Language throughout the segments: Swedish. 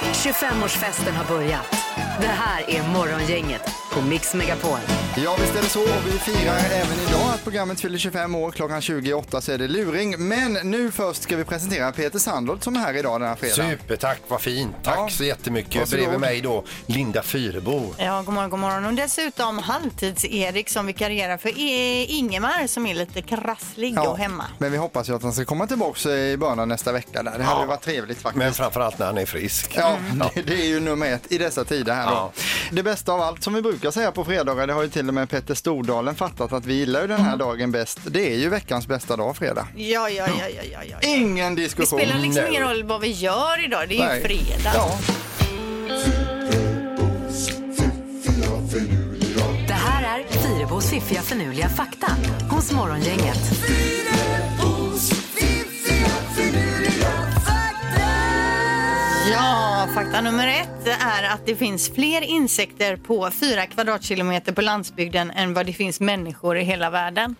25-årsfesten har börjat. Det här är Morgongänget på Mix Megapol. Ja, visst är det så. Och vi firar även idag att programmet fyller 25 år. Klockan 28 så är det luring. Men nu först ska vi presentera Peter Sandholt som är här idag den här fredagen. Supertack, vad fint. Tack Ja. så jättemycket. Varsågod. Bredvid mig då Linda Fyrebo. Ja, god morgon, god morgon. Och dessutom halvtids-Erik som vikarierar för e- Ingemar som är lite krasslig Ja, och hemma. Men vi hoppas ju att han ska komma tillbaka i början av nästa vecka. Där. Det hade Ja. varit trevligt faktiskt. Men framförallt när han är frisk. Ja, det, det är ju nummer ett i dessa tider här då. Ja. Det bästa av allt som vi brukar säga på fredagar, det har ju till och med Petter Stordalen fattat att vi gillar ju den Mm. här dagen bäst. Det är ju veckans bästa dag, fredag. Ja, ja, ja, ja, ja, ja. Ingen Det diskussion. spelar liksom no. ingen roll vad vi gör idag, det är ju Nej. fredag. Ja, Det här är Fyrebos fiffiga förnuliga fakta hos Morgongänget. Ja, fakta nummer ett är att det finns fler insekter på fyra kvadratkilometer på landsbygden än vad det finns människor i hela världen.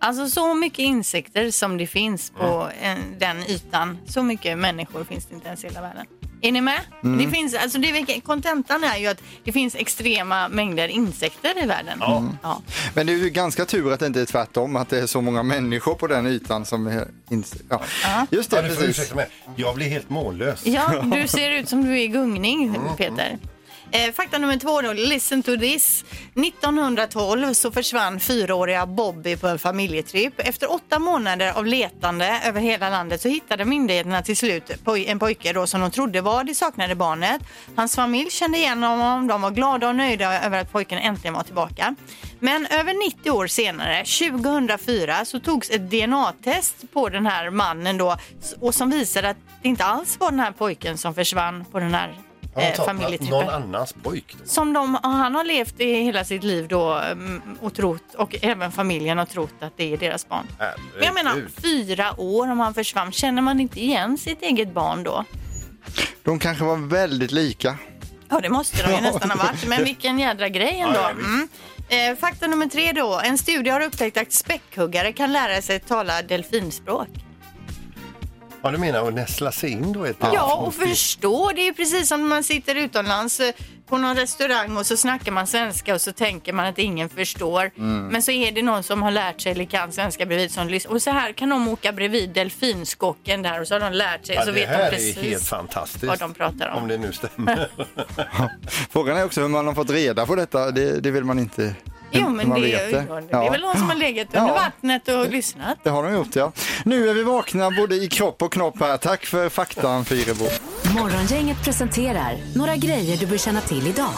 Alltså så mycket insekter som det finns på en, den ytan, så mycket människor finns det inte ens i hela världen. Är ni med? Det finns, alltså det, kontentan är ju att det finns extrema mängder insekter i världen. Ja. men det är ju ganska tur att det inte är tvärtom, att det är så många människor på den ytan som är ins- ja. Just Ja, det, du får precis. ursäkta mig. Jag blir helt mållös. Ja, du ser ut som du är i gungning, Peter. Eh, fakta nummer två då, listen to this. 1912 så försvann fyraåriga Bobby på en familjetripp. Efter åtta månader av letande över hela landet så hittade myndigheterna till slut poj- en pojke då som de trodde var det saknade barnet. Hans familj kände igen honom, de var glada och nöjda över att pojken äntligen var tillbaka. Men över 90 år senare, 2004, så togs ett DNA-test på den här mannen då och som visade att det inte alls var den här pojken som försvann på den här Har de eh, tagit Någon familjetrippen. annans pojk. Då. Som de, han har levt i hela sitt liv då mm, och trott, och även familjen har trott att det är deras barn. Men jag menar, Herregud. fyra år om han försvann, känner man inte igen sitt eget barn då? De kanske var väldigt lika. Ja, det måste de ju nästan ha varit. Men vilken jädra grej ändå. Ja, ja, visst. Mm. Eh, fakta nummer tre då. En studie har upptäckt att späckhuggare kan lära sig tala delfinspråk. Ja, du menar att näsla sig in då? Ett Ja, och förstå. Det är ju precis som när man sitter utomlands eh, på någon restaurang och så snackar man svenska och så tänker man att ingen förstår. Mm. Men så är det någon som har lärt sig eller kan svenska bredvid som lyssnar. Och så här kan de åka bredvid delfinskocken där och så har de lärt sig. Ja, så det vet här de precis är helt fantastiskt. vad de pratar om. Om det nu stämmer. Frågan är också hur man har fått reda på detta. Det, det vill man inte... Jo, hur men man det, vet är ju- det Ja. är väl någon som har legat under Ja. vattnet och lyssnat. Det har de gjort ja. Nu är vi vakna både i kropp och knopp här. Tack för faktan Fyrebo. Morgongänget presenterar några grejer du bör känna till idag.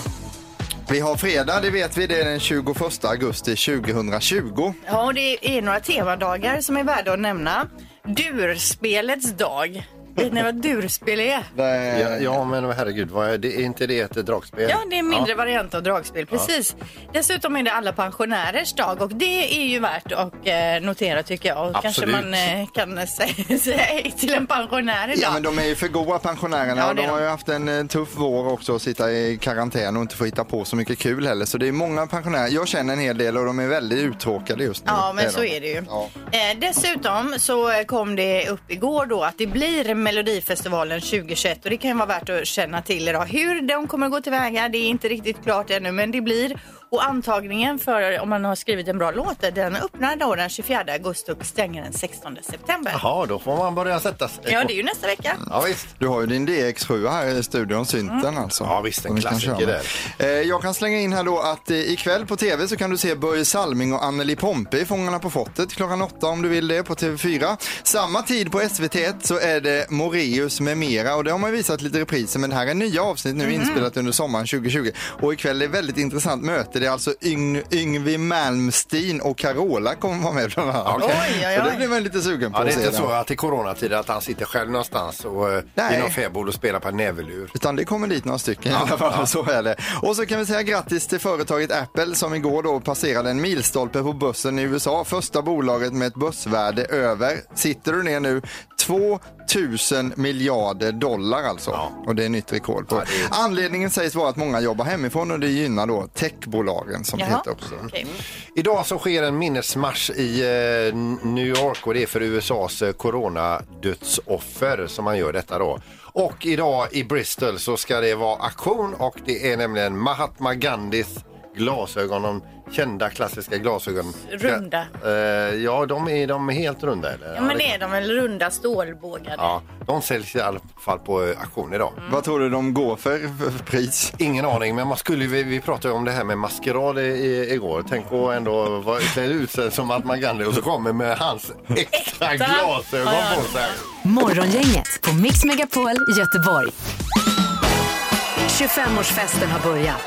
Vi har fredag, det vet vi, det är den 21 augusti 2020. Ja, och det är några temadagar som är värda att nämna. Durspelets dag. Vet ni vad durspel är? ja, ja, men herregud, vad är, det, är inte det ett dragspel? Ja, det är en mindre variant av dragspel. Precis. Dessutom är det alla pensionärers dag och det är ju värt att eh, notera tycker jag. Och kanske Absolut. man eh, kan säga, säga hej till en pensionär idag. Ja men de är ju för goa pensionärerna Ja, och det de är har de. ju haft en eh, tuff vår också att sitta i karantän och inte få hitta på så mycket kul heller. Så det är många pensionärer, jag känner en hel del och de är väldigt uttråkade just nu. Ja, men Mm, de. så är det ju. Ja. Eh, dessutom så eh, kom det upp igår då att det blir Melodifestivalen 2021 och det kan ju vara värt att känna till idag. Hur de kommer gå tillväga, det är inte riktigt klart ännu, men det blir. Och antagningen för om man har skrivit en bra låt, den öppnar då den 24 augusti och stänger den 16 september. Jaha, då får man börja sätta sig. Ja, det är ju nästa vecka. Ja, visst. Mm. Du har ju din DX7 här i studion, synten alltså. Ja, visst, en Som vi kan klassiker köra med. Eh, Jag kan slänga in här då att eh, ikväll på tv så kan du se Börje Salming och Anneli Pompe i Fångarna på fortet klockan åtta om du vill det på TV4. Samma tid på SVT1 så är det Moreus med mera och det har man ju visat lite repriser men det här är nya avsnitt Mhm. nu inspelat under sommaren 2020 och ikväll är ett väldigt intressant möte. Det är alltså Yng Yngwie Malmsteen och Carola kommer vara med bland annat. Okej. Oj, oj, Så det oj. blir man lite sugen på Ja, det att är se inte den. så att i coronatider att han sitter själv någonstans och, eh, Nej. i någon fäbod och spelar på en näverlur. Utan det kommer dit några stycken i alla fall, så är det. Och så kan vi säga grattis till företaget Apple som igår då passerade en milstolpe på börsen i USA. Första bolaget med ett börsvärde över, sitter du ner nu, 2 000 miljarder dollar alltså. Och det är nytt rekord. På. Anledningen sägs vara att många jobbar hemifrån och det gynnar då techbolagen som Jaha. heter också. Okej. Idag så sker en minnesmarsch i eh, New York och det är för USAs eh, coronadödsoffer som man gör detta då. Och idag i Bristol så ska det vara aktion och det är nämligen Mahatma Gandhis glasögon, de kända klassiska glasögonen. Runda. Eh, ja, de är de är helt runda eller? Ja, men det är de väl runda stålbågade. Ja, de säljs i alla fall på eh, auktion idag. Vad tror du de går för, för pris? Ingen aning, men man skulle, vi, vi pratade ju om det här med maskerad i, i, igår. Tänk att ändå vara- klä ut sig som Mahatma Gandhi och så kommer med hans äkta glasögon på sig. Morgongänget på Mix Megapol Göteborg. 25-årsfesten har börjat.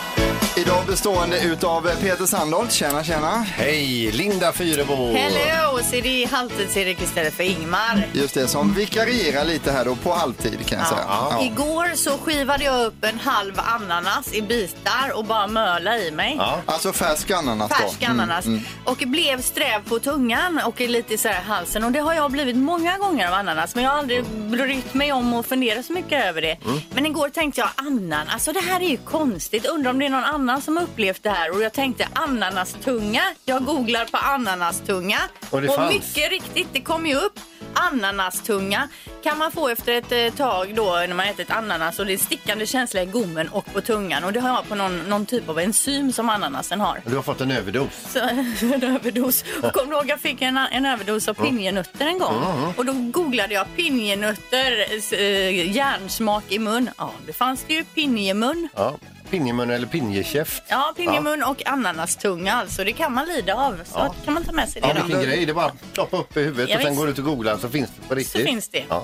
Idag bestående utav Peter Sandholt, tjena tjena. Hej, Linda Fyrebo! Hello! Så det är halvtids-Erik istället för Ingmar. Just det, som vikarierar lite här då på halvtid kan jag säga. Ja. Igår så skivade jag upp en halv ananas i bitar och bara möla i mig. Ja. Alltså färsk ananas då. Mm, Färsk Mm, ananas. Och blev sträv på tungan och lite så här i halsen. Och det har jag blivit många gånger av ananas. Men jag har aldrig brytt mig om att fundera så mycket över det. Mm. Men igår tänkte jag ananas, alltså det här är ju konstigt. Undrar om det är någon annan som har upplevt det här. Och jag tänkte ananastunga. Jag googlar på ananastunga. Och det fanns. mycket riktigt, det kom ju upp. Ananastunga kan man få efter ett eh, tag då när man ätit ananas och det är stickande känsla i gommen och på tungan och det har jag på någon, någon typ av enzym som ananasen har Du har fått en överdos. så- en överdos. Och kom du ihåg jag fick en, en överdos av pinjenötter en gång. Och då googlade jag pinjenötter, eh, järnsmak i mun. Ja, det fanns det ju pinjemun. Ja. Pinjemun eller pinjekäft. Ja, pinjemun och ananastunga alltså. Det kan man lida av. Så Ja. kan man ta med sig Ja, det då. vilken grej. Det är bara att ploppa upp i huvudet Ja, och sen visst. går du ut och googlar så finns det på riktigt. Så finns det. Ja.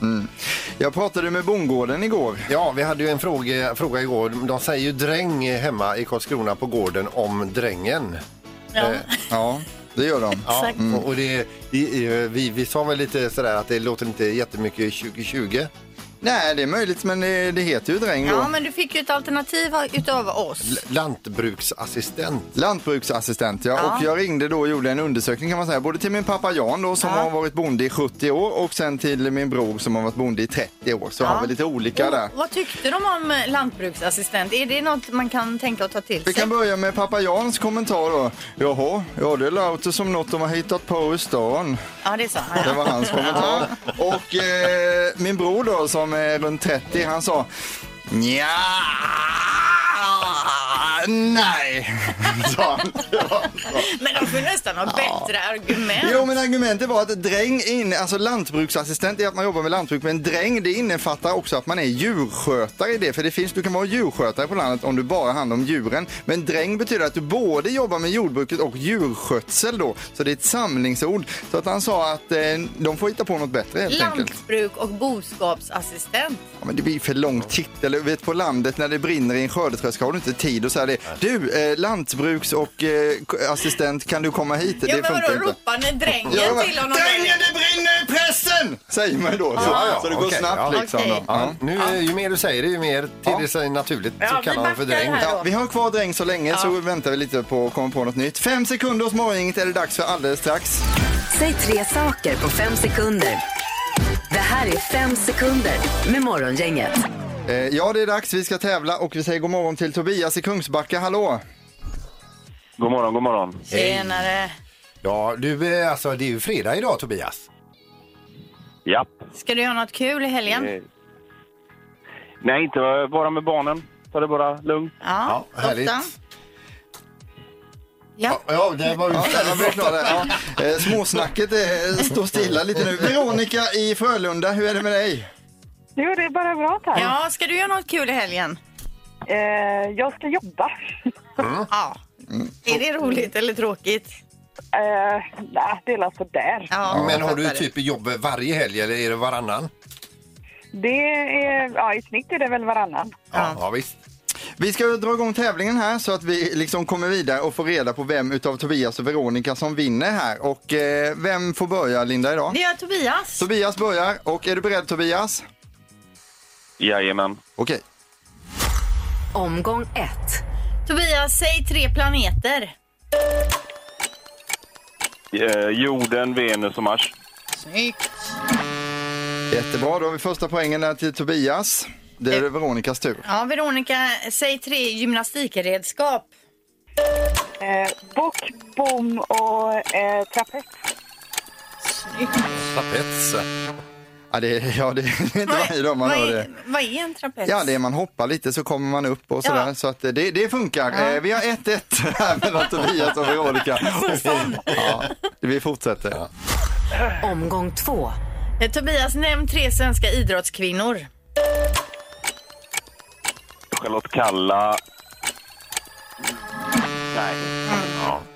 Jag pratade med bondgården igår. Ja, vi hade ju en fråga, fråga igår. De säger ju dräng hemma i Karlskrona på gården om drängen. Ja. Eh, Ja, det gör de. Ja, Mm. Exakt. och- och det, i- i- vi, vi sa väl lite sådär att det låter inte jättemycket 2020. Nej, det är möjligt, men det, det heter ju dräng då. Ja, men du fick ju ett alternativ av- utav oss. L- Lantbruksassistent. Lantbruksassistent, ja. Ja. Och jag ringde då och gjorde en undersökning kan man säga. Både till min pappa Jan då som Ja. har varit bonde i 70 år och sen till min bror som har varit bonde i 30 år. Så har vi lite olika Och där. Vad tyckte de om eh, lantbruksassistent? Är det något man kan tänka att ta till Vi sig? kan börja med pappa Jans kommentar då. Jaha, ja det låter som något de har hittat på i stan. Ja, det sa han. Det var hans kommentar. Och eh, min bror då som är runt 30, han sa Nja, nej, sa han. Men de får nästan ha bättre argument. Jo, men argumentet var att dräng, in, alltså lantbruksassistent är att man jobbar med lantbruk, men dräng det innefattar också att man är djurskötare i det, för det finns, du kan vara djurskötare på landet om du bara har hand om djuren, men dräng betyder att du både jobbar med jordbruket och djurskötsel då, så det är ett samlingsord. Så att han sa att eh, de får hitta på något bättre helt enkelt. Lantbruk och boskapsassistent. Ja, men det blir för lång titel. Du vet på landet när det brinner i en skördetröska har du inte tid att säga det. Du, eh, lantbruks och eh, assistent, kan du komma hit? Ja, det men vadå, funkar inte. ropar ni drängen Ja, men- till honom? Drängen, det brinner i pressen! Säger man då. Så, Ja, ja, så det går okej, snabbt ja. liksom. Okej. Då. Ja. Nu, Ju mer du säger det, ju mer till Ja. det sig naturligt Ja, så vi kallar man för backar dräng. här. Ja, vi har kvar dräng så länge så väntar vi lite på att komma på något nytt. Fem sekunder hos morgoninget är det dags för alldeles strax. Säg tre saker på fem sekunder. Det här är fem sekunder med Morgongänget. Eh, ja, det är dags. Vi ska tävla och vi säger god morgon till Tobias i Kungsbacka. Hallå! God morgon, god morgon. Tjenare. Ja, du, eh, alltså, det är ju fredag idag Tobias. Japp. Ska du göra något kul i helgen? Mm. Eh, Nej, inte eh, bara med barnen. Ta det bara lugnt. Ja, Ja, härligt. Lotta? Ja. Ja, det var ju Ja, där var vi klara. Ja. Eh, småsnacket eh, står stilla lite nu. Veronica i Frölunda, hur är det med dig? Jo, det är bara bra tack. ja, ska du göra något kul i helgen? Eh, jag ska jobba. Ja. Mm. Är det roligt eller tråkigt? Eh, nej, det är alltså där. Ja, Men har du fattar det. typ jobb varje helg eller är det varannan? Det är, ja, I snitt är det väl varannan. Ja, ja visst. Vi ska dra igång tävlingen här så att vi liksom kommer vidare och får reda på vem utav Tobias och Veronica som vinner här. Och eh, vem får börja Linda idag? Det gör Tobias. Tobias börjar och är du beredd Tobias? Jajamän. Okej. Omgång ett. Tobias, säg tre planeter. Eh, jorden, Venus och Mars. Snyggt. Jättebra, då har vi första poängen där till Tobias. Det Eh. är Veronikas tur. Ja, Veronica, säg tre gymnastikredskap. Eh, bock, bom och eh, trapets. Trapets. Ja, det, ja, det är inte varje dag man vad, hör är, det. vad är en trapets? Ja, det är man hoppar lite så kommer man upp och sådär. Ja. Så att eh, det, det funkar. Eh, vi har 1-1 här mellan Tobias och Veronica. ja, vi fortsätter. Omgång två. Eh, Tobias, nämn tre svenska idrottskvinnor. Charlotte Kalla. Nej.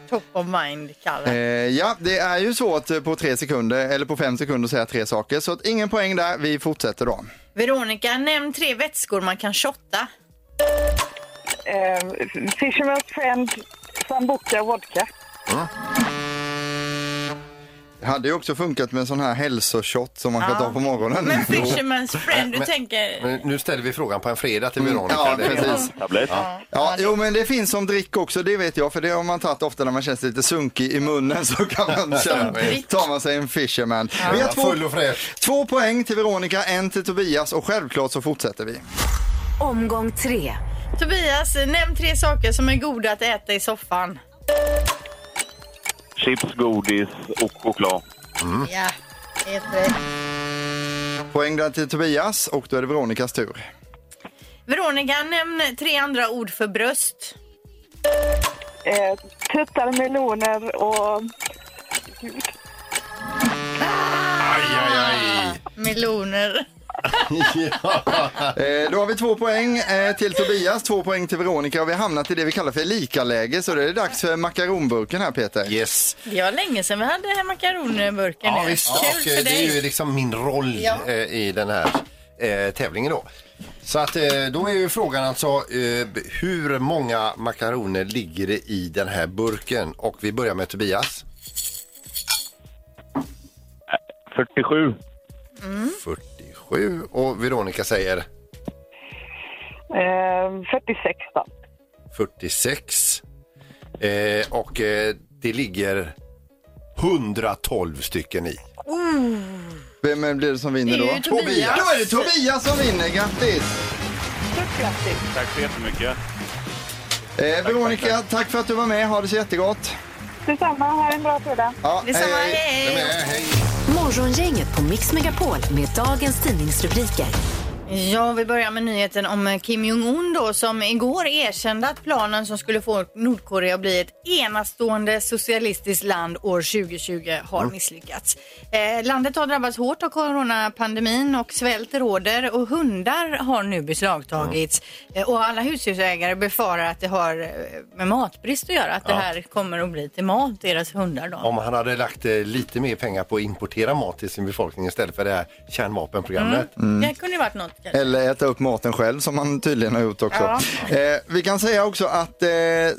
Top of mind, Kalle. Eh, ja, det är ju svårt eh, på tre sekunder, eller på fem sekunder att säga tre saker. Så att ingen poäng där. Vi fortsätter då. Veronica, nämn tre vätskor man kan shotta. Eh, Fisherman's friend, sambuca, vodka. Det hade ju också funkat med en sån här hälsoshot som man kan ta på morgonen. Men Fisherman's Mm. friend, du tänker... Men nu ställer vi frågan på en fredag till Veronica. Mm. Ja, Det är- precis. Tablett. Ja, jo, men det finns som dryck också, det vet jag. För det har man tagit ofta när man känns lite sunkig i munnen så kan man känna, dryck. tar man sig en fisherman. Vi har Ja, full två, och fräsch. två poäng till Veronica, en till Tobias och självklart så fortsätter vi. Omgång tre. Mm. Tobias, nämn tre saker som är goda att äta i soffan. Chips, godis och choklad. Mm. Ja, eh, helt rätt. Poäng där till Tobias och då är det Veronicas tur. Veronica, nämn tre andra ord för bröst. Eh, tuttar, meloner och... Aj, aj, aj. Meloner. Eh, då har vi två poäng eh, till Tobias, två poäng till Veronica och vi har hamnat i det vi kallar för likaläge så det är dags för makaronburken här Peter. Yes. Det var länge sedan vi hade makaronburken Ja, nu. visst. Kul Och, eh, för det är ju dig. liksom min roll Ja. eh, i den här eh, tävlingen då. Så att eh, då är ju frågan alltså eh, b- hur många makaroner ligger det i den här burken? Och vi börjar med Tobias. 47. 47 och Veronica säger Eh, 46 då. 46. Eh, och eh, det ligger 112 stycken i. Vem eh, blir det som vinner Det är då? ju Tobias. Då är det Tobias som vinner, grattis! Stort grattis. Tack så jättemycket. Eh, Veronica, tack för att du var med, ha det så jättegott. Detsamma, ha en bra fredag. Ja, eh, Detsamma, hej, hej. hej! Morgongänget på Mix Megapol med dagens tidningsrubriker. Ja, vi börjar med nyheten om Kim Jong-Un då som igår erkände att planen som skulle få Nordkorea att bli ett enastående socialistiskt land år 2020 har Mm. misslyckats. Eh, landet har drabbats hårt av coronapandemin och svält råder och hundar har nu beslagtagits. Mm. Eh, och alla husdjursägare befarar att det har eh, med matbrist att göra, att det här kommer att bli till mat, deras hundar då. Om han hade lagt eh, lite mer pengar på att importera mat till sin befolkning istället för det här kärnvapenprogrammet. Det kunde ju varit något Eh, kanske. Eller äta upp maten själv som man tydligen har gjort också. Eh, vi kan säga också att eh,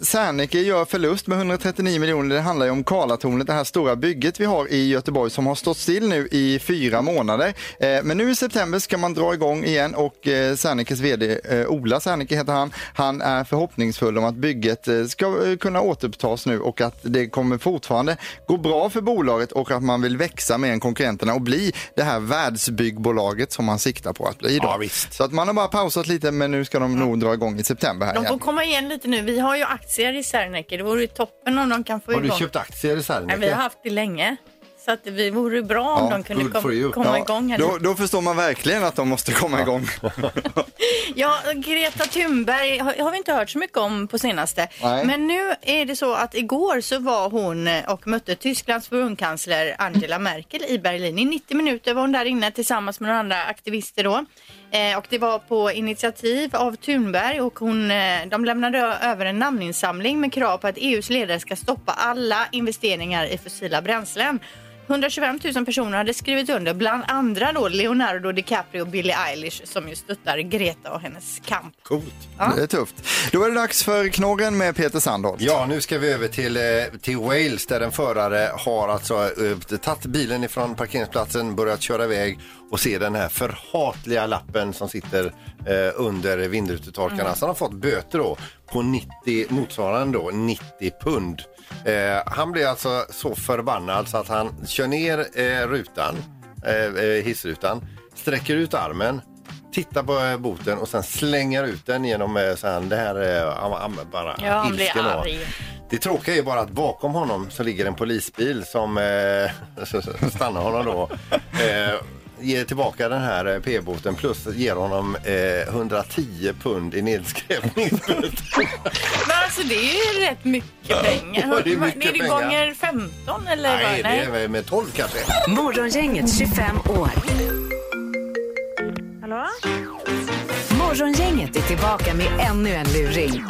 Serneke gör förlust med 139 miljoner. Det handlar ju om Karlatornet, det här stora bygget vi har i Göteborg som har stått still nu i fyra månader. Eh, men nu i september ska man dra igång igen och eh, Sernekes vd eh, Ola Serneke heter han. Han är förhoppningsfull om att bygget eh, ska eh, kunna återupptas nu och att det kommer fortfarande gå bra för bolaget och att man vill växa mer än konkurrenterna och bli det här världsbyggbolaget som man siktar på att bli. Då. Ja, visst. Så att man har bara pausat lite men nu ska de nog dra igång i september här De får igen. komma igen lite nu. Vi har ju aktier i Serneke. Det vore ju toppen om de kan få Har du igång. köpt aktier i Serneke? Nej, vi har haft det länge. Så att det vore ju bra om Ja, de kunde good kom, for you. komma igång. Här. då, då förstår man verkligen att de måste komma igång. Ja, Greta Thunberg har, har vi inte hört så mycket om på senaste. Nej. Men nu är det så att igår så var hon eh, och mötte Tysklands förbundskansler Angela Merkel i Berlin. I 90 minuter var hon där inne tillsammans med några andra aktivister då. Eh, och det var på initiativ av Thunberg och hon, eh, de lämnade ö- över en namninsamling med krav på att EUs ledare ska stoppa alla investeringar i fossila bränslen. 125 000 personer hade skrivit under, bland andra då Leonardo DiCaprio och Billie Eilish som ju stöttar Greta och hennes kamp. Coolt. Det är tufft. Då är det dags för Knorren med Peter Sandholt. Ja, nu ska vi över till, eh, till Wales där en förare har alltså eh, tagit bilen ifrån parkeringsplatsen, börjat köra iväg och ser den här förhatliga lappen som sitter eh, under vindrutetorkarna. Så han har fått böter då på 90, motsvarande då, 90 pund. Eh, han blir alltså så förbannad så att han kör ner eh, rutan, eh, eh, hissrutan, sträcker ut armen, tittar på eh, boten och sen slänger ut den genom eh, så här, det här, eh, han, han bara Ja, han blir ilsken var. arg. Det tråkiga är bara att bakom honom så ligger en polisbil som eh, så- så- stannar honom då. Eh, ger tillbaka den här eh, p-boten plus ger honom eh, 110 pund i nedskräpningsböter. Men alltså det är ju rätt mycket pengar. Ja, det är är, mycket det pengar. gånger 15 eller vad? Nej, det är väl med 12 kanske. Morgongänget 25 år. Hallå? Morgongänget är tillbaka med ännu en luring.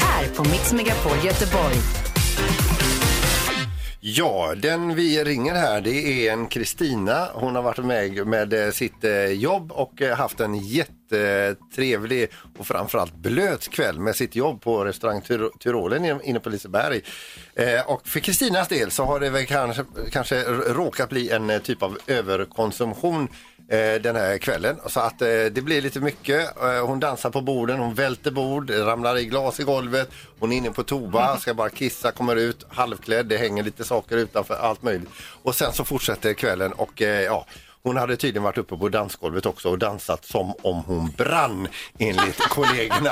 Här på Mix Megapol Göteborg. Ja, den vi ringer här det är en Kristina. Hon har varit med med eh, sitt eh, jobb och eh, haft en jättetrevlig och framförallt blöt kväll med sitt jobb på restaurang Tyr- Tyrolen in- inne på Liseberg. Eh, Och för Kristinas del så har det väl kanske, kanske råkat bli en eh, typ av överkonsumtion eh, den här kvällen. Så att eh, det blir lite mycket. Eh, Hon dansar på borden, hon välter bord, ramlar i glas i golvet. Hon är inne på toa, ska bara kissa, kommer ut halvklädd. Det hänger lite saker utanför, allt möjligt. Och sen så fortsätter kvällen och eh, ja, hon hade tydligen varit uppe på dansgolvet också och dansat som om hon brann enligt kollegorna.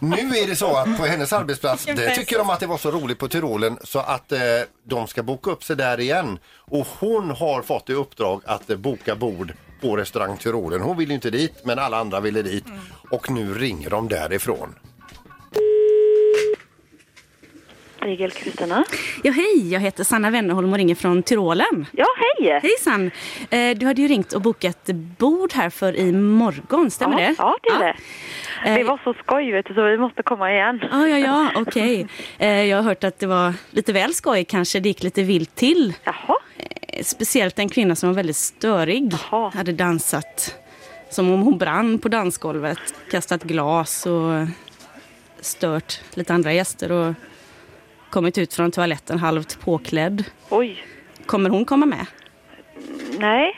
Nu är det så att på hennes arbetsplats där tycker de att det var så roligt på Tyrolen så att eh, de ska boka upp sig där igen. Och hon har fått i uppdrag att eh, boka bord på restaurang Tyrolen. Hon vill ju inte dit men alla andra ville dit. Mm. Och nu ringer de därifrån. Rigel Kristina. Ja, hej! Jag heter Sanna Wennerholm och ringer från Tyrolen. Ja, hej! Hejsan! Eh, Du hade ju ringt och bokat bord här för imorgon, stämmer ja, det? Ja, det är det. Eh, Det var så skoj, vet du, så vi måste komma igen. Ja, ja, ja, okej. Eh, Jag har hört att det var lite väl skoj kanske, det gick lite vilt till. Jaha, Eh, Speciellt en kvinna som var väldigt störig, Jaha. hade dansat som om hon brann på dansgolvet, kastat glas och stört lite andra gäster och kommit ut från toaletten halvt påklädd. oj, Kommer hon komma med? nej.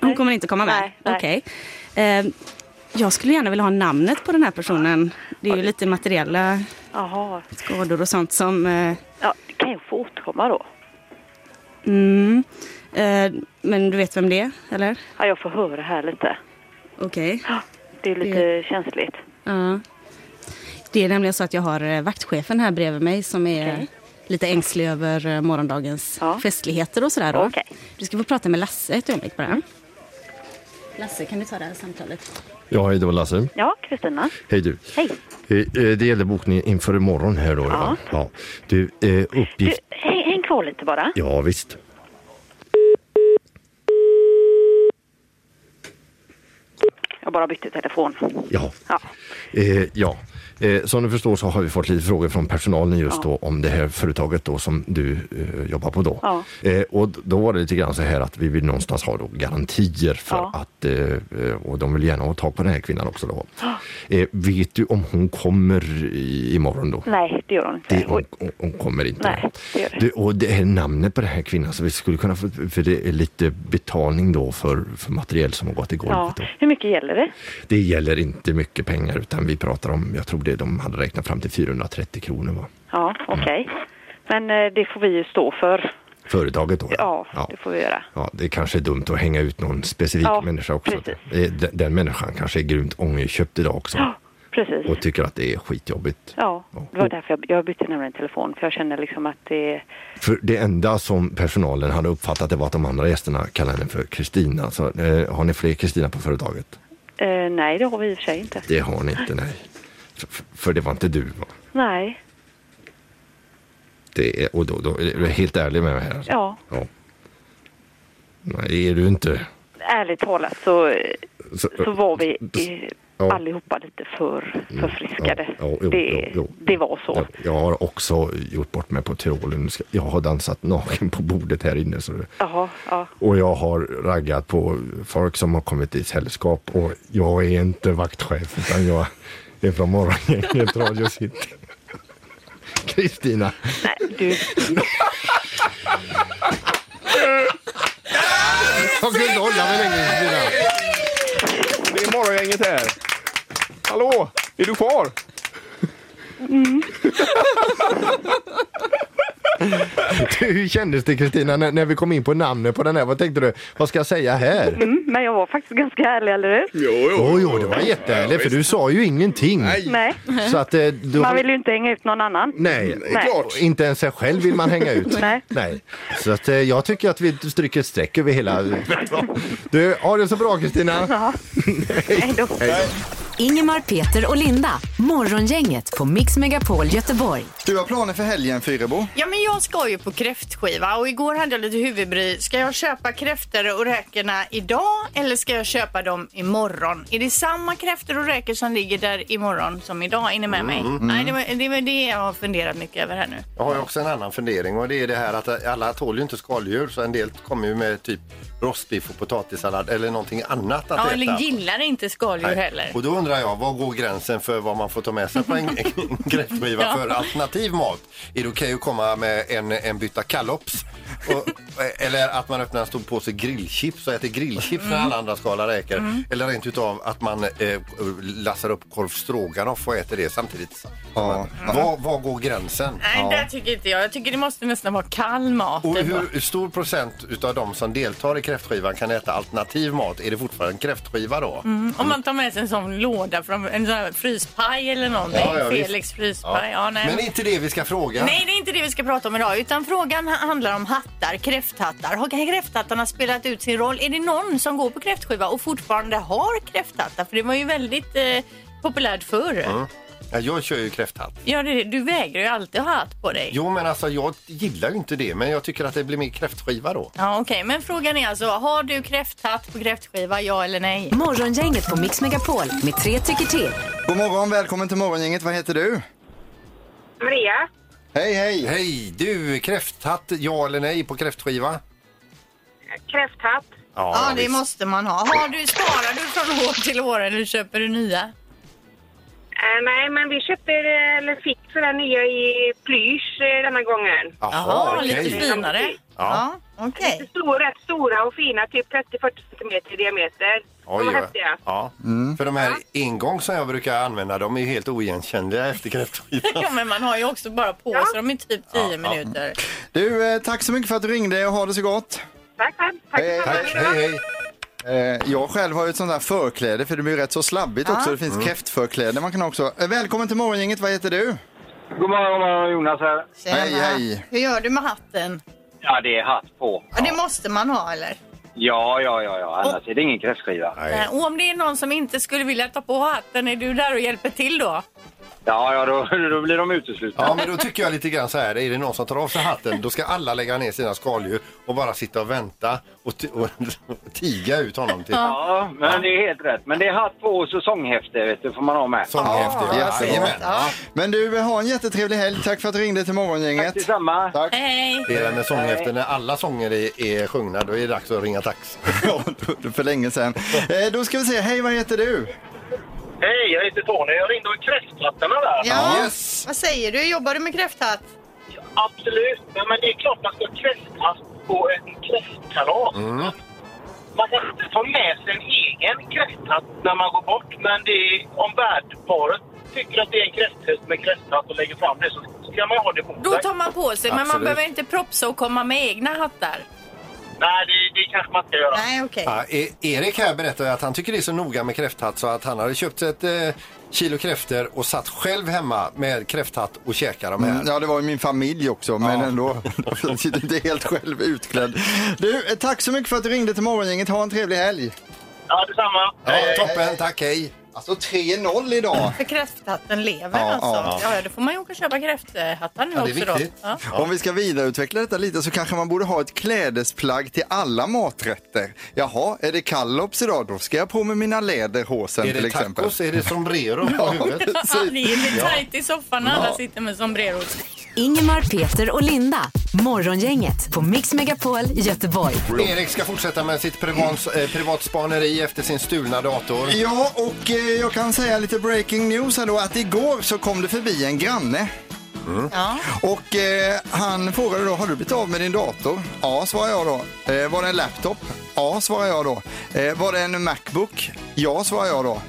Hon kommer inte komma med? Nej, nej. Okej. Eh, jag skulle gärna vilja ha namnet på den här personen. Det är ju lite materiella Jaha. skador och sånt som... Eh, Ja, kan jag få återkomma då? mm, eh, men du vet vem det är, eller? Ja, jag får höra här lite. Okej. Ja, Det är lite känsligt. Ja. Det är nämligen så att jag har eh, vaktchefen här bredvid mig som är Okej. lite ängslig över eh, morgondagens Ja. festligheter och sådär. Då. Okej. Du ska få prata med Lasse ett ögonblick bara. Lasse, kan du ta det här samtalet? Ja, hej, det var Lasse. Ja, Kristina. Hej du. Hej. Eh, eh, Det gäller bokningen inför imorgon här då. Ja. ja. Du, eh, Du, uppgift... häng, häng kvar lite bara. Ja, visst. Jag bara bytte telefon. Ja. Ja. Eh, ja. Eh, som du förstår så har vi fått lite frågor från personalen just då om det här företaget då som du eh, jobbar på då. Ja. Eh, och d- då var det lite grann så här att vi vill någonstans ha då garantier för Ja. att eh, eh, och de vill gärna ha tag på den här kvinnan också då. Eh, vet du om hon kommer i, imorgon då? Nej, det gör hon inte. Det, hon, Oj. hon- hon kommer inte. Nej, det gör det. Du, och det här namnet på den här kvinnan, så vi skulle kunna få, för det är lite betalning då för, för materiell som har gått i Ja. golvet. Då. Hur mycket gäller det? Det gäller inte mycket pengar utan vi pratar om, jag tror det de hade räknat fram till 430 kronor va? Ja, okej. Men eh, det får vi ju stå för. Företaget då? Ja, det får vi göra. Ja, det kanske är dumt att hänga ut någon specifik Ja, människa också. precis. Eh, Den, den människan kanske är grymt ångerköpt idag också Ja, precis. och tycker att det är skitjobbigt. Ja, det var därför jag, jag bytte nämligen telefon. För jag känner liksom att det... För det enda som personalen hade uppfattat det var att de andra gästerna kallade henne för Kristina. Så, eh, har ni fler Kristina på företaget? Eh, nej, det har vi i och för sig inte. Det har ni inte, nej. För, för det var inte du va? Nej, Det är, och då, då är du helt ärlig med mig här? alltså? Ja. ja. Nej, det är du inte. ärligt talat så, eh, Så- så var vi i, Ja. Mm. allihopa lite för förfriskade. Ja, ja, jo, det, jo, jo. det var så. Jag, jag har också gjort bort mig på Tyrolen. Jag har dansat naken på bordet här inne. Så det, Jaha, ja. och jag har raggat på folk som har kommit i sällskap. Och jag är inte vaktchef utan jag är från morgongänget Radio City. Kristina. Nej, du, Jag kunde inte hålla mig längre Kristina. Det är morgongänget här. Hallå, är du kvar? Mm. Hur kändes det Kristina när, när vi kom in på namnet på den här? Vad tänkte du? Vad ska jag säga här? Mm, men jag var faktiskt ganska ärlig, eller hur? Jo, jo, det var jättehärligt för du sa ju ingenting. Nej. Så att, eh, då- Man vill ju inte hänga ut någon annan. Nej, Nej. klart. inte ens sig själv vill man hänga ut. Nej. Så att, eh, jag tycker att vi stryker ett streck över hela... Du, ha det så bra Kristina! Ja. Hej då! Ingemar, Peter och Linda. Morgongänget på Mix Megapol Göteborg. Du har planer för helgen, Fyrebo. Ja, men jag ska ju på kräftskiva och igår hade jag lite huvudbry. Ska jag köpa kräftor och räkorna idag eller ska jag köpa dem imorgon? Är det samma kräftor och räkor som ligger där imorgon som idag? Är ni med mig? Mm. Nej, det var, det var det jag har funderat mycket över här nu. Jag har ju också en annan fundering och det är det här att eh, alla tål ju inte skaldjur så en del kommer ju med typ rostbiff och potatissallad eller någonting annat att Ja, äta. eller gillar inte skaldjur Nej. heller. Och då undrar jag, var går gränsen för vad man får ta med sig på en en gräddskiva Ja. för alternativ mat? Är det okej att komma med en, en bytta kallops? Och, eh, eller att man öppnar en stor påse grillchips och äter grillchips när Mm. alla andra skalar räkor. Mm. Eller rent utav att man eh, lassar upp korv stroganoff och äter det samtidigt. Var, var går gränsen? Nej, det tycker inte jag. Jag tycker det måste nästan vara kall mat. Och ändå. hur stor procent utav de som deltar i kräftskivan kan äta alternativ mat? Är det fortfarande en kräftskiva då? Mm. Om man tar med sig en sån låda, från en sån här fryspaj eller någonting. Ja, ja, visst. Felix fryspaj. Ja. Ja. nej. Men det är inte det vi ska fråga. Nej, det är inte det vi ska prata om idag. Utan frågan ha- handlar om hattar, kräfthattar. Har kräfthattarna spelat ut sin roll? Är det någon som går på kräftskiva och fortfarande har kräfthattar? För det var ju väldigt eh, populärt förr. Mm. Ja, jag kör ju kräfthatt. Ja, det, du vägrar ju alltid ha hatt på dig. Jo, men alltså jag gillar ju inte det, men jag tycker att det blir mer kräftskiva då. Ja, okej. Men frågan är alltså, har du kräfthatt på kräftskiva? Ja eller nej? Morgongänget på Mix Megapol med tre tycker till. God morgon, välkommen till morgongänget. Vad heter du? Maria? Hej, hej! Hej! Du, kräfthatt, ja eller nej på kräftskiva? Kräfthatt? Ja, Ja, det visst. måste man ha. Har du, sparar du från år till år eller köper du nya? Eh, nej, men vi köpte, eh, eller fick sådär nya i plysch eh, denna gången. Jaha, Jaha, okej. lite finare. Ja. okej. Lite stora, rätt stora och fina, typ 30-40 centimeter i diameter. Oj, de ja. är häftiga. Ja. För de här engång som jag brukar använda, de är ju helt oigenkännliga efter kräftskivan. Ja, men man har ju också bara på sig dem i typ 10 minuter. Du, eh, tack så mycket för att du ringde och ha det så gott. Tack, tack. tack. hej, hej. Eh, Jag själv har ju ett sånt där förkläde för det blir ju rätt så slabbigt Ja. också. Det finns Mm. kräftförkläde man kan också. Eh, Välkommen till morgongänget, vad heter du? God morgon, Jonas här. Hej, hej. Hur gör du med hatten? Ja, det är hatt på. Ja, det måste man ha, eller? Ja, ja, ja, ja. annars är det ingen kräftskiva. Nej. Eh, Och om det är någon som inte skulle vilja ta på hatten, är du där och hjälper till då? Ja, ja, då, då blir de uteslutna. Ja, men då tycker jag lite grann så här, är det någon som tar av sig hatten, då ska alla lägga ner sina skaldjur och bara sitta och vänta och, ti- och tiga ut honom. Till. Ja, men det är helt rätt. Men det är hatt på och så sånghäfte, vet du, får man ha med. Sånghäfte, ja. Jättebra. Jajamän. Men du, eh, ha en jättetrevlig helg. Tack för att du ringde till morgongänget. Tack detsamma. Tack. Hej. Det är den med sånghäfte, när alla sånger är, är sjungna, då är det dags att ringa tax. ja, för länge sedan. Eh, Då ska vi se, hej vad heter du? Hej, jag heter Tony. Jag ringde om kräfthattarna där. Vad säger du? Jobbar du med kräfthatt? Absolut, men, men det är klart man ska ha kräfthatt på en kräftkalas. Man kan inte ta med sig en egen kräfthatt när man går bort, men det är, om värdparet tycker att det är en kräfthäst med kräfthatt och lägger fram det så ska man ha det på Då sig. tar man på sig, men man Absolut. behöver inte propsa och komma med egna hattar. Nej, det, det kanske man ska göra. Nej, okej. Ja, E- Erik här berättar att han tycker det är så noga med kräfthatt så att han hade köpt ett eh, kilo kräfter och satt själv hemma med kräfthatt och käkade de här. Mm, Ja, det var ju min familj också, men ändå. Jag sitter inte helt själv utklädd. Du, eh, tack så mycket för att du ringde till morgongänget. Ha en trevlig helg. Ja, detsamma. Ja, toppen, tack, hej. Alltså 3-0 idag. För kräfthatten lever Ja, alltså. ja, Ja, ja. ja. då får man ju åka och köpa kräfthattar nu Ja, det är också då. viktigt. Ja. Om vi ska vidareutveckla detta lite så kanske man borde ha ett klädesplagg till alla maträtter. Jaha, är det kallops idag? Då ska jag på med mina läderhosen Är det till exempel. tacos? Är det sombrero på ja, huvudet? precis. Det är lite Ja. tajt i soffan när alla Ja. sitter med sombrero. Ingemar, Peter och Linda. Morgongänget på Mix Megapol Göteborg. Erik ska fortsätta med sitt privats, eh, privatspaneri efter sin stulna dator. Ja, och eh, jag kan säga lite breaking news här då att igår så kom det förbi en granne. Och eh, han frågade då, har du blivit av med din dator? Ja, svarade jag då. Eh, var det en laptop? Ja, svarade jag då. Eh, var det en Macbook? Ja, svarade jag då.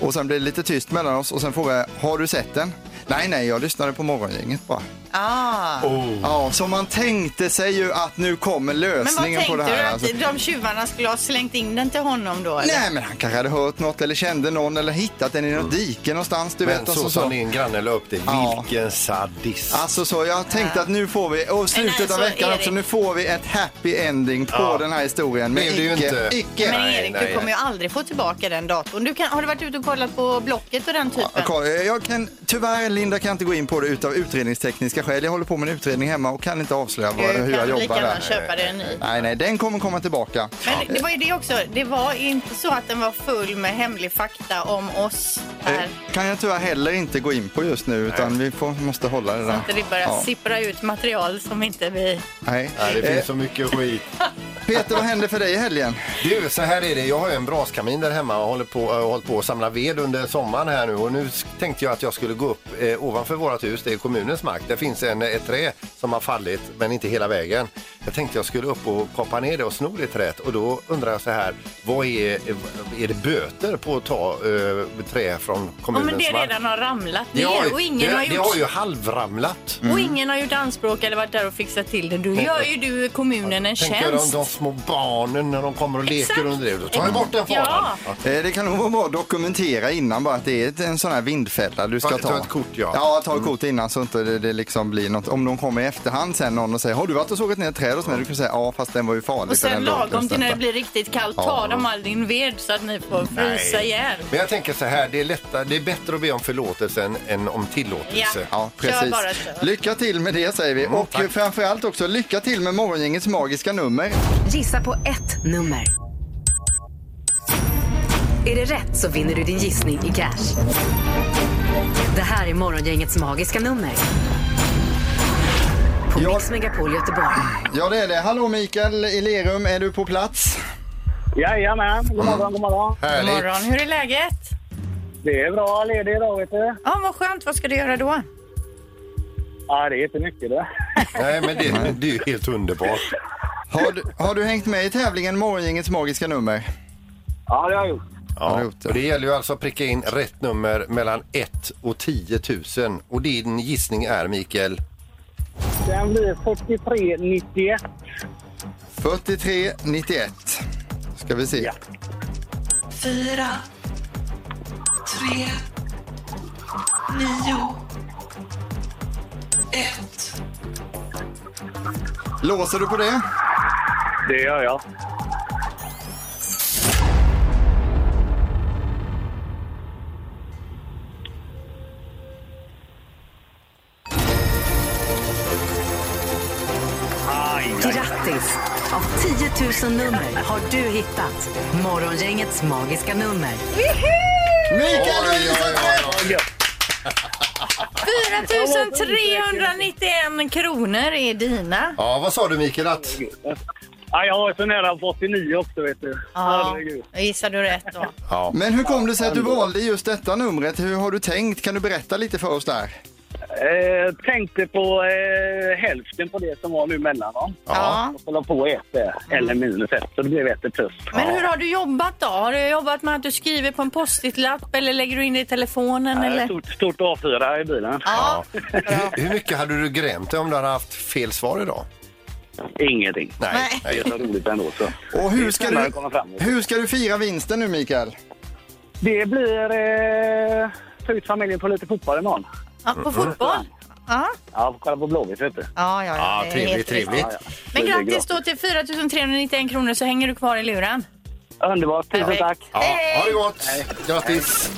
Och sen blev det lite tyst mellan oss och sen frågade jag, har du sett den? Nej, nej, jag lyssnade på morgongänget bara. Ah. Ja, så man tänkte sig ju att nu kommer Men vad lösningen tänkte på det du här. att alltså. de tjuvarna skulle ha slängt in den till honom då? Eller? Mm. Nej, men han kanske hade hört något eller kände någon eller hittat den i något dike någonstans. Du Men vet, och så så, som din granne la upp det. Vilken sadist. Alltså så, jag tänkte att nu får vi, och slutet alltså, av veckan Erik- också, nu får vi ett happy ending på Ja. den här historien. Men Blev det ju icke, inte. icke. Men Erik, du kommer ju aldrig få tillbaka den datorn. Du kan, har du varit ute och kollat på Blocket och den typen? Jag kan- Jag kan, tyvärr Linda kan jag inte gå in på det utav utredningstekniska skäl. Jag håller på med en utredning hemma och kan inte avslöja Du vad, hur kan jag lika jobbar gärna där. köpa dig en ny. Nej, nej, den kommer komma tillbaka. Men det var ju det också. Det var inte så att den var full med hemlig fakta om oss här. Eh, Kan jag tyvärr heller inte gå in på just nu utan vi får, måste hålla det Så där. att det börjar Ja. sippra ut material som inte vi... Nej. Nej, det Eh, finns så mycket skit. Peter, vad hände för dig i helgen? Du, så här är det. Jag har ju en braskamin där hemma och håller på, jag har hållit på att samla ved under sommaren här nu. Och nu s- tänkte jag att jag skulle gå upp eh, ovanför vårt hus. Det är kommunens mark. Det finns en, eh, ett trä som har fallit, men inte hela vägen. Jag tänkte jag skulle upp och kapa ner det och sno det träet. Och då undrar jag så här, vad är, eh, är det böter på att ta eh, trä från Ja, kommunens men det mark? redan har ramlat Det ner har ju- och ingen det, har det har gjort... ju halvramlat. Och ingen har gjort anspråk eller varit där och fixat till det. Du gör ju du kommunen en Tänker de, tjänst. de små barnen när de kommer och leker Exakt. under det. Då tar jag bort den faran. Ja. Eh, Det kan nog vara bra att dokumentera innan bara att det är ett- en sån här vindfälla du ska Ta- ta. ta ett kort, ja. Ja, ta ett Mm. kort innan så inte det, det liksom blir något. Om de kommer i efterhand sen någon och säger har du varit och sågat ner ett träd hos mig? Du kan säga ja fast den var ju farlig. Och för sen den lagom låg till när det där." blir riktigt kallt, Ja. tar de all din ved så att ni får frysa Nej. ihjäl. Men jag tänker så här, det är, lättare, det är bättre att be om förlåtelse än, än om tillåtelse. Ja. Ja, precis. Kör bara, kör. Lycka till med det säger Mm, vi. och framförallt också lycka till med morgongängets magiska nummer. Gissa på ett nummer. Är det rätt så vinner du din gissning i cash. Det här är morgongängets magiska nummer. På Mix Megapol Göteborg. Ja det är det. Hallå Mikael i Lerum, är du på plats? Jajamän, god morgon, god morgon. God morgon, hur är läget? Det är bra, ledig idag vet du. Ja, vad skönt. Vad ska du göra då? Ja, det är inte mycket det. Nej, men det, det är ju helt underbart. Har du, har du hängt med i tävlingen morgongängets magiska nummer? Ja, det har jag gjort. Ja, och det gäller ju alltså att pricka in rätt nummer mellan 1 och 10 000. Och din gissning är, Mikael? Den blir 4391. 4391. Ska vi se. Fyra, tre, nio, ett. Låser du på det? Det gör jag. Grattis! Av 10 000 nummer har du hittat morgongängets magiska nummer. Mikael Oj, oj, oj, 4391 kronor är dina. Ja, vad sa du Mikael? Att... Ja, jag var så nära på 89 också vet du. Ja, då gissar du rätt då. Ja. Men hur kom det sig att du valde just detta numret? Hur har du tänkt? Kan du berätta lite för oss där? Eh, tänkte på eh, hälften på det som var nu mellan dem. Ja. Och så la på ett där, Mm. eller minus ett, så det blev ett plus. Men hur har du jobbat då? Har du jobbat med att du skriver på en post-it-lapp eller lägger du in det i telefonen? Ja, Eh, eller? Stort, stort A4 i bilen. Ja. Hur, hur mycket hade du grämt dig om du hade haft fel svar idag? Ingenting. Nej. typ Det är så roligt ändå. Så. Och hur ska, Det är du, spännande att komma framåt. hur ska du fira vinsten nu Mikael? Det blir... Eh, ta ut familjen på lite fotboll imorgon. Ja, på fotboll? Ja, Ja, kolla på Blåvitt vet du. ja, ja. Ja, det är trevligt, helt riktigt. trevligt. Ja, ja. Men Det är grattis då till 4391 kronor så hänger du kvar i luren. Underbart, tusen Perfekt. tack. Ja, ha det gott! Grattis!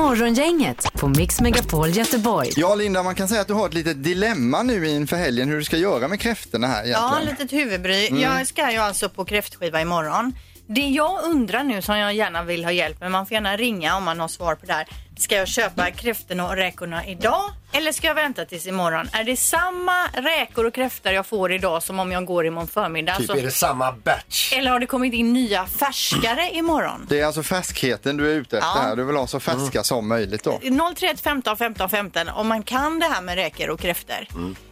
Morgongänget på Mix Megapol Göteborg. Ja Linda, man kan säga att du har ett litet dilemma nu inför helgen hur du ska göra med kräftorna här Ja, egentligen. litet huvudbry. Mm. Jag ska ju alltså på kräftskiva imorgon. Det jag undrar nu som jag gärna vill ha hjälp med, man får gärna ringa om man har svar på det här. Ska jag köpa kräftorna och räkorna idag eller ska jag vänta tills imorgon? Är det samma räkor och kräftor jag får idag som om jag går imorgon förmiddag? Typ Så- är det samma batch. Eller har det kommit in nya färskare imorgon? Det är alltså färskheten du är ute efter Ja. här. Du vill ha så färska Mm. som möjligt då. 031 15 15 15 om man kan det här med räkor och kräftor.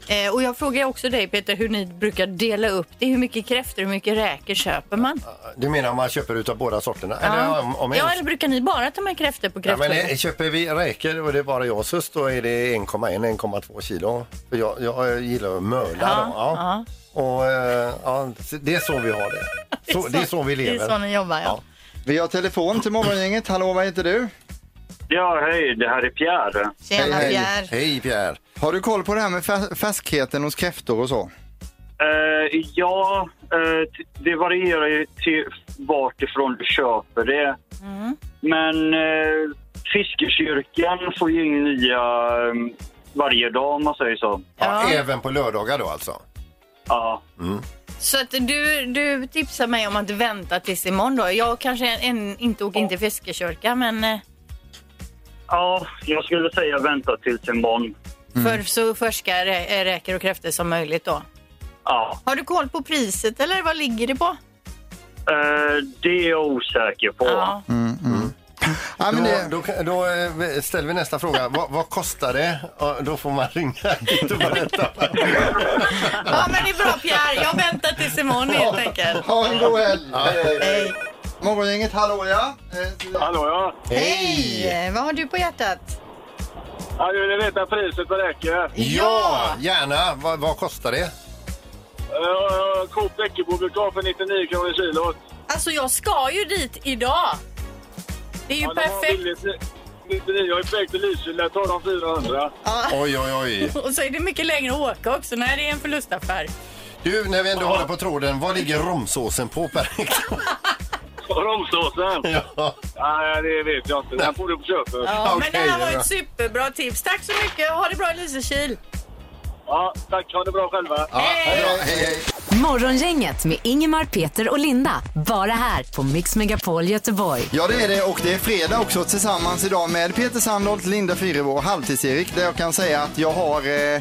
Eh, och jag frågar också dig Peter hur ni brukar dela upp det. Hur mycket kräftor och hur mycket räkor köper man? Du menar om man köper utav båda sorterna? Ja. Eller om, om ja, eller brukar ni bara ta med kräftor på Ja, men, kräftskivan? eh, köp, köper vi räkor och det är bara jag och sus då är det 1,1-1,2 kilo. För jag, jag eh, gillar att mörda då. Ja. Och, eh, ja, det är så vi har det. Så, det är så vi lever. jobbar, ja. Vi har telefon till morgongänget. Hallå, vad heter du? Ja, hej, det här är Pierre. Hej Pierre. Har du koll på det här med fä- färskheten hos kräftor och så? Eh, ja, eh, t- det varierar ju till vart ifrån du köper det. Men eh, Fiskekyrkan får ju in nya eh, varje dag om man säger så. Ja, Även på lördagar då alltså? Ja. Så att du, du tipsar mig om att vänta tills imorgon då. Jag kanske än inte åker in till fiskekyrka men eh, ja, jag skulle säga vänta tills imorgon. Mm. för så färska rä- räkor och kräftor som möjligt då. Ja, Har du koll på priset eller vad ligger det på? eh, det är jag osäker på. Ja. då, då, kan- då, eh, ställer vi nästa fråga. vad, vad kostar det? Ja, Då får man ringa hit och berätta. Ja men det är bra Pierre, jag väntar tills imorgon helt enkelt. Ha en god helg! Hej. Morgongänget, hallå ja! Hallå ja! Hej! Vad har du på hjärtat? Ja, jag vill veta priset på räkor. Ja, gärna. Vad, vad kostar det? Eh, Coop Läckebo brukar ha för 99 kronor kilot. Alltså jag ska ju dit idag. Det är ju perfekt. Jag är på väg till Lysekil, jag tar de 400. Oj, oj, oj. Och så är det mycket längre att åka också. Nej, det är en förlustaffär. Du, när vi ändå håller på tråden, vad ligger romsåsen på per Romsåsen? Ja. Nej, det vet jag inte. Den får du på köpet. Ja, men det här var ett superbra tips. Tack så mycket. Ha det bra i Lysekil. Ja, tack. Ha det bra själva. Morgongänget med Ingemar, Peter och Linda. Bara här på Mix Megapol Göteborg. Ja det är det och det är fredag också tillsammans idag med Peter Sandholt, Linda Fyrebo och Halvtids-Erik där jag kan säga att jag har eh,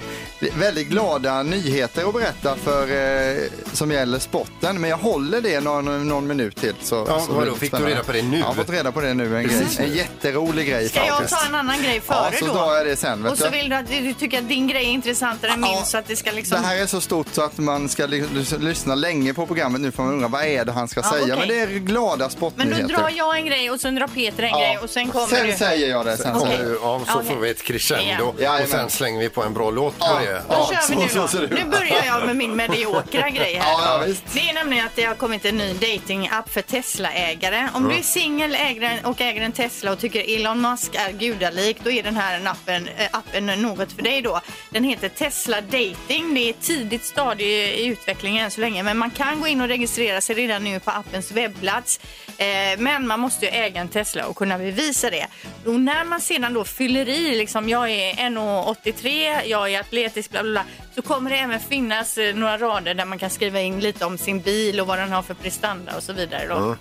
väldigt glada nyheter att berätta för, eh, som gäller sporten men jag håller det någon, någon minut till. Så, Ja, så vadå, blir det fick du spännande. reda på det nu? Jag har fått reda på det nu, en, grej, Precis nu. en jätterolig grej Ska jag faktiskt. ta en annan grej Ja, före så då? tar jag det sen. Vet Och så du. vill du att du tycker att din grej är intressantare än min så att det ska liksom... Det här är så stort så att man ska li- lys- lyssna länge på programmet nu för man undrar vad är det han ska Ja, säga. okej. Men det är glada Men sportnyheter. då drar jag en grej och sen drar Peter en Ja. grej och sen kommer Sen du. säger jag det, sen Okej. säger du. Ja, så Okej. får vi ett crescendo Ja. och sen slänger vi på en bra låt på det. Då kör vi nu då. nu börjar jag med min mediokra grej här. Ja, ja, då. visst. det är nämligen att det har kommit en ny dating-app för Tesla-ägare. Om Mm. du är singel ägare- och äger en Tesla och tycker Elon Musk är gudalik då är den här appen, eh, appen något för dig då. Den heter Tesla Dating. Det är ett tidigt stadie i utvecklingen än så länge men man kan gå in och registrera sig redan nu på appens webbplats. Eh, Men man måste ju äga en Tesla och kunna bevisa det. Och när man sedan då fyller i, liksom jag är 1,83, jag är atletisk, bla bla bla, så kommer det även finnas eh, några rader där man kan skriva in lite om sin bil och vad den har för prestanda och så vidare. Då. Mm.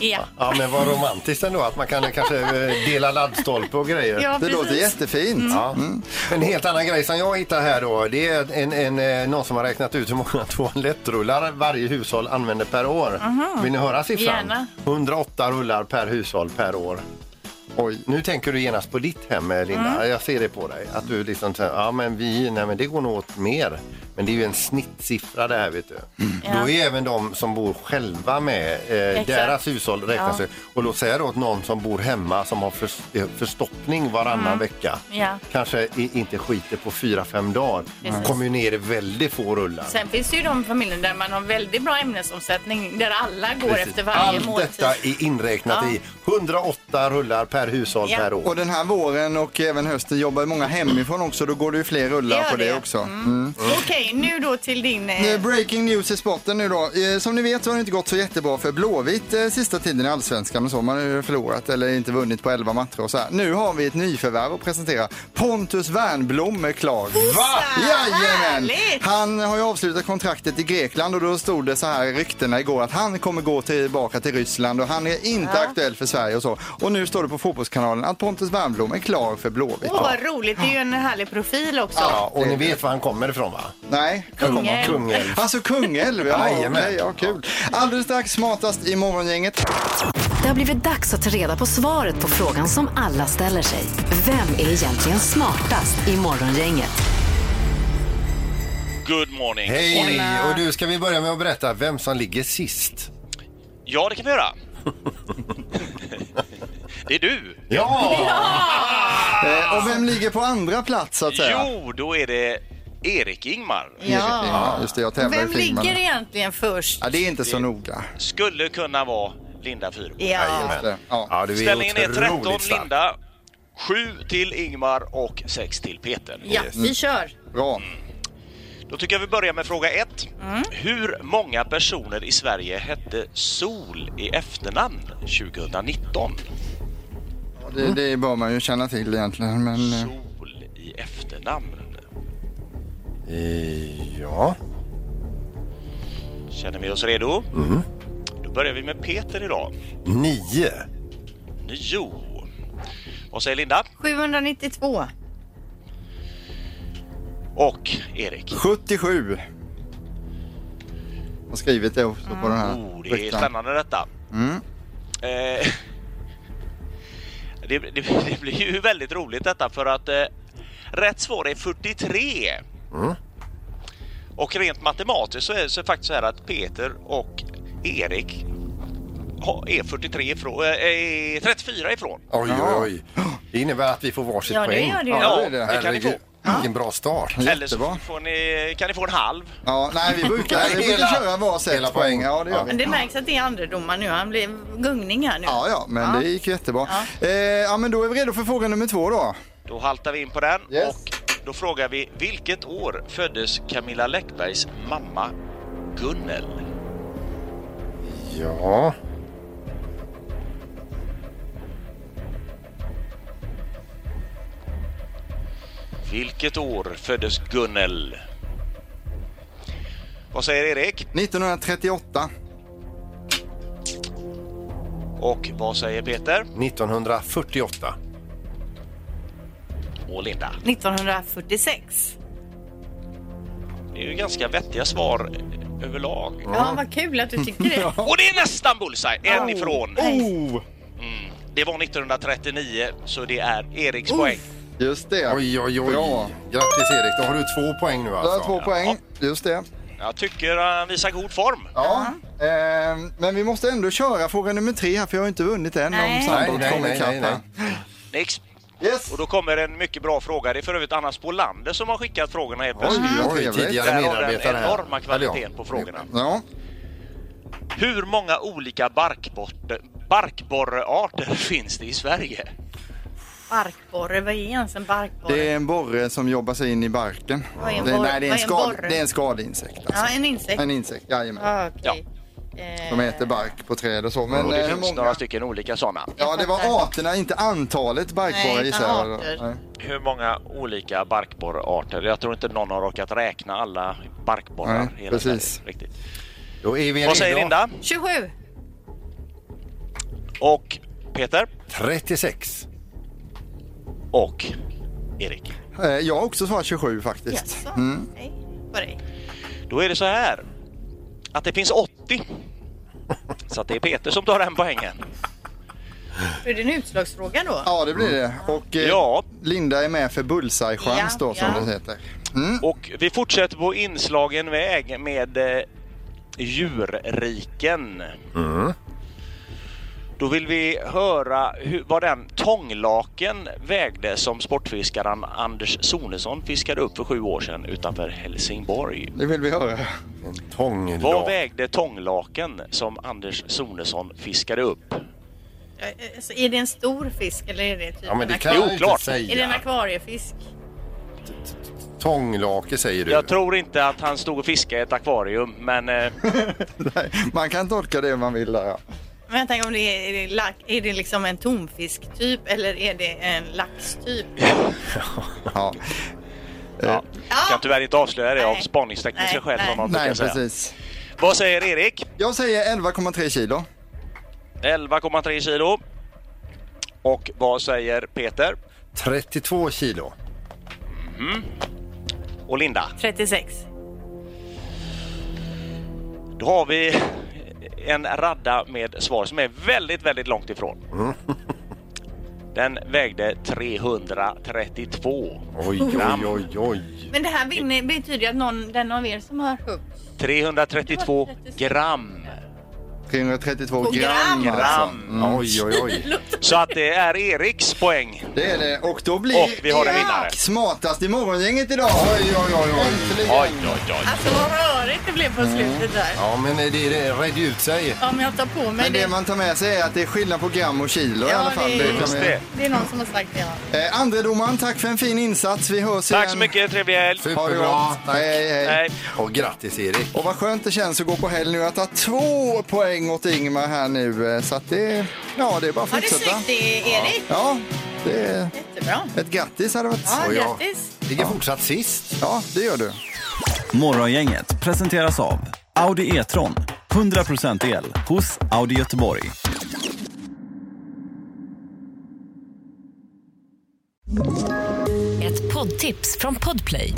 Ja. Ja, men vad romantiskt ändå att man kan kanske eh, dela laddstolpe och grejer. Ja, Det låter precis. Mm. jättefint. Ja. Mm. En helt annan grej som jag hittar här då, det är en, en, eh, någon som har räknat ut hur många toalettrullar varje hushåll använder per år. Aha. Vill ni höra siffran? Gärna. 108 rullar per hushåll per år. Oj, nu tänker du genast på ditt hem, eh, Linda. Mm. Jag ser det på dig. Att du liksom säger, ja men vi, nej men det går nog åt mer. Men det är ju en snittsiffra det här, vet du. Då är även de som bor själva med, eh, Mm. Exakt. deras hushåll räknas Ja. ju. Och låt säga då åt någon som bor hemma som har förs- eh, förstoppning varannan Mm. vecka. Ja. Kanske i- inte skiter på fyra fem dagar. Mm. Precis. Kommer ju ner i väldigt få rullar. Sen finns det ju de familjer där man har väldigt bra ämnesomsättning där alla går Precis. efter varje Allt måltid. detta är inräknat Ja. i 108 rullar per hushåll per år. Och den här våren och även hösten jobbar ju många hemifrån också. Då går det ju fler rullar Gör på det, det. också. Mm. Mm. Okej, nu då till din... eh, Nu är breaking news i sporten nu då. Eh, Som ni vet så har det inte gått så jättebra för Blåvitt eh, sista tiden i allsvenskan och så. Man har ju förlorat eller inte vunnit på 11 matcher och så här. Nu har vi ett nyförvärv att presentera. Pontus Wernbloom är klar. Va? Jajamän! Han har ju avslutat kontraktet i Grekland och då stod det så här i ryktena igår att han kommer gå tillbaka till Ryssland och han är inte Ja. aktuell för Sverige och så. Och nu står det på Fotbollskanalen att Pontus Wernbloom är klar för Blåvitt. Åh, vad roligt. Det är ju en härlig profil också. Ja, och ni vet var han kommer ifrån va? Nej. Kungälv. Kungälv. Alltså Kungälv, ja, Jajamän. okej, ja kul. Alldeles strax smartast i morgongänget. Det har blivit dags att ta reda på svaret på frågan som alla ställer sig. Vem är egentligen smartast i morgongänget? Good morning. Hej! Och du, ska vi börja med att berätta vem som ligger sist? Ja, det kan vi göra. Det är du! Eh, Och vem ligger på andra plats så att säga? Jo, då är det Erik Ingmar. Ja, just det, jag tävlar Vem i filmen. ligger egentligen först? Ja, det är inte så noga. Skulle kunna vara Linda Fyrbo. Ja. Ja, just det. du är Ställningen är otroligt 13 stark. Linda, 7 till Ingmar och 6 till Peter. Ja, vi kör. Bra. Då tycker jag vi börjar med fråga 1. Hur många personer i Sverige hette Sol i efternamn 2019? Ja, Det, det bör man ju känna till egentligen. Men, Mm. eh, Sol i efternamn. Eh, Ja. Känner vi oss redo? Då börjar vi med Peter idag. Nio. Nio. Vad säger Linda? 792. Och Erik? 77. Jag har skrivit det också på den här Oh, det är rutan. spännande detta. Mm. Eh, det, det, det blir ju väldigt roligt detta för att eh, rätt svar är 43. Och rent matematiskt så är det så faktiskt så här att Peter och Erik har- är 43 ifrån, eh, är 34 ifrån. Oj, oj, oj. Det innebär att vi får varsitt Ja, det poäng. gör det. Ja, det är det. Det kan ni få. Herregud, Vilken bra start. Eller så får ni, kan ni få en halv. Ja, nej, vi brukar, vi brukar köra varsitt poäng. Ja, det gör Men vi. det märks att det är andredomaren nu. Han blev gungning här nu. Ja, ja, men det gick jättebra. Eh, ja, men då är vi redo för fråga nummer två då. Då haltar vi in på den och då frågar vi vilket år föddes Camilla Läckbergs mamma Gunnel? Ja. Vilket år föddes Gunnel? Vad säger Erik? 1938. Och vad säger Peter? 1948. Och Linda? 1946. Det är ju ganska vettiga svar överlag. Ja, vad kul att du tycker det. Och det är nästan bullseye! En Oh. ifrån. Oh. Mm. Det var 1939, så det är Eriks poäng. Just det. Oj, oj, oj. Bra. Grattis Erik, då har du två poäng nu Du har alltså. två poäng, just det. Jag tycker han visar god form. Ja, eh, men vi måste ändå köra fråga nummer tre här för jag har inte vunnit än om Nej. sambot Nej, kommer nej, ikapp nej, nej. här. Nix. Och då kommer en mycket bra fråga. Det är för övrigt Anna Spolander som har skickat frågorna helt Oj, oj, plötsligt. tidigare Där har den medarbetare här. Mm. enorma Eller ja. kvaliteten på frågorna. Ja. Hur många olika barkborte- barkborrearter finns det i Sverige? Barkborre, vad är ens en barkborre? Det är en borre som jobbar sig in i barken. Vad är en det, borre? nej, det Vad är är en, en skad, borre? det är en skadeinsekt. Ja, en insekt. En insekt, jajamän. Ah, okej. Eh, De äter bark på träd och så. Men och det eh, finns många- några stycken olika sådana. Ja, det var arterna, inte antalet barkborrar Nej, gissar utan jag. arter. Nej. Hur många olika barkborrearter? Jag tror inte någon har råkat räkna alla barkborrar. Nej, i hela precis. Sverige, Riktigt. Då är vi Vad säger redo. Linda? 27. Och Peter? 36. Och Erik? Eh, Jag har också svarat 27 faktiskt. Mm. På dig. Då är det så här att det finns 80. Så att det är Peter som tar den poängen. Är det en utslagsfråga då? Ja, det blir det. Och eh, Ja. Linda är med för bullseye-chans Ja, då som ja. det heter. Och vi fortsätter på inslagen väg med eh, djurriken. Då vill vi höra hur, vad den tånglaken vägde som sportfiskaren Anders Sonesson fiskade upp för sju år sedan utanför Helsingborg. Det vill vi höra. En tång. Vad vägde tånglaken som Anders Sonesson fiskade upp? Eh, eh, Så är det en stor fisk eller är det typ Ja, men det en kan jag ju inte akvarie- säga. Är det en akvariefisk? Tånglake säger du. Jag tror inte att han stod och fiskade i ett akvarium, men eh, Man kan tolka det man vill där. Ja. Men jag tänker om det är, är, det lax, är det liksom en tonfisk typ eller är det en typ? laxtyp? Ja. ja. Jag kan tyvärr inte avslöja det av spaningstekniska skäl som man brukar Nej, säga. precis. Vad säger Erik? Jag säger 11,3 kilo. 11,3 kilo. Och vad säger Peter? 32 kilo. Mm. Och Linda? 36. Då har vi en radda med svar som är väldigt, väldigt långt ifrån. Den vägde 332 Oj, gram. oj, oj, oj. Men det här vinner, betyder ju att någon, den av er som har högst 332 gram. 332 På gram. gram. Alltså. Gram. Mm. Oj, oj, oj. Så att det är Eriks poäng. Det är det. Och då blir Och vi har en vinnare. Erik smartast i morgongänget idag. Oj, oj, oj. Äntligen. Oj, oj, oj. Alltså vad rörigt det blev på slutet där. Ja, men det, det redde ut sig. Om jag tar på mig Men det man tar med sig är att det är skillnad på gram och kilo i alla fall. det, kan man- är, det är någon som har sagt det. Ja. Eh, andre domaren, tack för en fin insats. Vi hörs igen. Tack så mycket, trevlig helg. Ha det gott. Hej, hej. Och grattis Erik. Och vad skönt det känns att gå på helg nu. Jag tar två poäng åt Ingmar här nu. eh, Så att det, ja, det är bara att Har du fortsätta. snyggt det, Erik? Ja, det är... Jättebra. Ett grattis hade varit. Ja, grattis. Ligger fortsatt sist. Ja, det gör du. Morgongänget presenteras av Audi E-tron. 100% el hos Audi Göteborg. Ett poddtips från Podplay.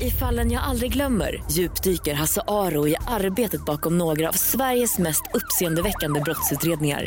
I fallen jag aldrig glömmer djupdyker Hasse Aro i arbetet bakom några av Sveriges mest uppseendeväckande brottsutredningar.